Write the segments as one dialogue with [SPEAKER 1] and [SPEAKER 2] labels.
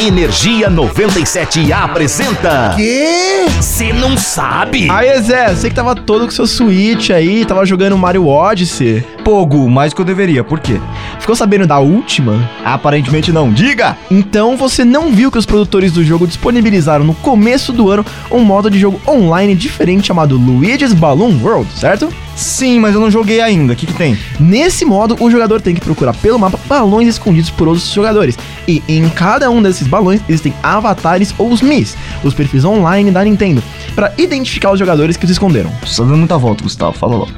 [SPEAKER 1] Energia 97 apresenta.
[SPEAKER 2] Quê?
[SPEAKER 1] Você não sabe?
[SPEAKER 2] Aí, Zé, sei que tava todo com seu Switch aí, tava jogando Mario Odyssey.
[SPEAKER 3] Pouco, mais que eu deveria, por quê?
[SPEAKER 2] Ficou sabendo da última?
[SPEAKER 3] Aparentemente não. Diga!
[SPEAKER 2] Então você não viu que os produtores do jogo disponibilizaram no começo do ano um modo de jogo online diferente chamado Luigi's Balloon World, certo?
[SPEAKER 3] Sim, mas eu não joguei ainda. O que, que tem?
[SPEAKER 2] Nesse modo, o jogador tem que procurar pelo mapa balões escondidos por outros jogadores. E em cada um desses balões existem avatares ou os Mis, os perfis online da Nintendo, para identificar os jogadores que os esconderam.
[SPEAKER 3] Você tá dando muita volta, Gustavo. Fala logo.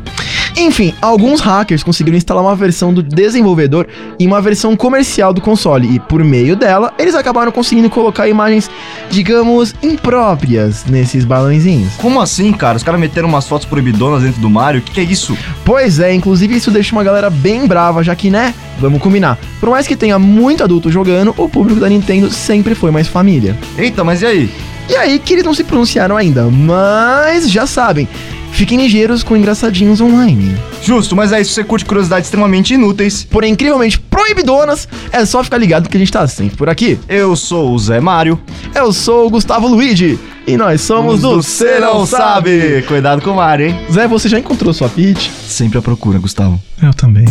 [SPEAKER 2] Enfim, alguns hackers conseguiram instalar uma versão do desenvolvedor e uma versão comercial do console, e por meio dela, eles acabaram conseguindo colocar imagens, digamos, impróprias nesses balãozinhos.
[SPEAKER 3] Como assim, cara? Os caras meteram umas fotos proibidonas dentro do Mario? O que, que é isso?
[SPEAKER 2] Pois é, inclusive isso deixa uma galera bem brava, já que, né, vamos combinar, por mais que tenha muito adulto jogando, o público da Nintendo sempre foi mais família.
[SPEAKER 3] Eita, mas e aí?
[SPEAKER 2] E aí que eles não se pronunciaram ainda, mas já sabem, fiquem ligeiros com engraçadinhos online.
[SPEAKER 3] Justo, mas é isso. Você curte curiosidades extremamente inúteis.
[SPEAKER 2] Porém, incrivelmente proibidonas, é só ficar ligado que a gente tá sempre por aqui.
[SPEAKER 3] Eu sou o Zé Mário.
[SPEAKER 2] Eu sou o Gustavo Luigi e nós somos do Cê Não Sabe.
[SPEAKER 3] Cuidado com o Mario, hein?
[SPEAKER 2] Zé, você já encontrou sua Peach?
[SPEAKER 3] Sempre à procura, Gustavo.
[SPEAKER 2] Eu também.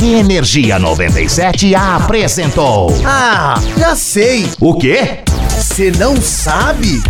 [SPEAKER 1] Energia 97 apresentou.
[SPEAKER 4] Ah, já sei.
[SPEAKER 1] O quê?
[SPEAKER 4] Você não sabe?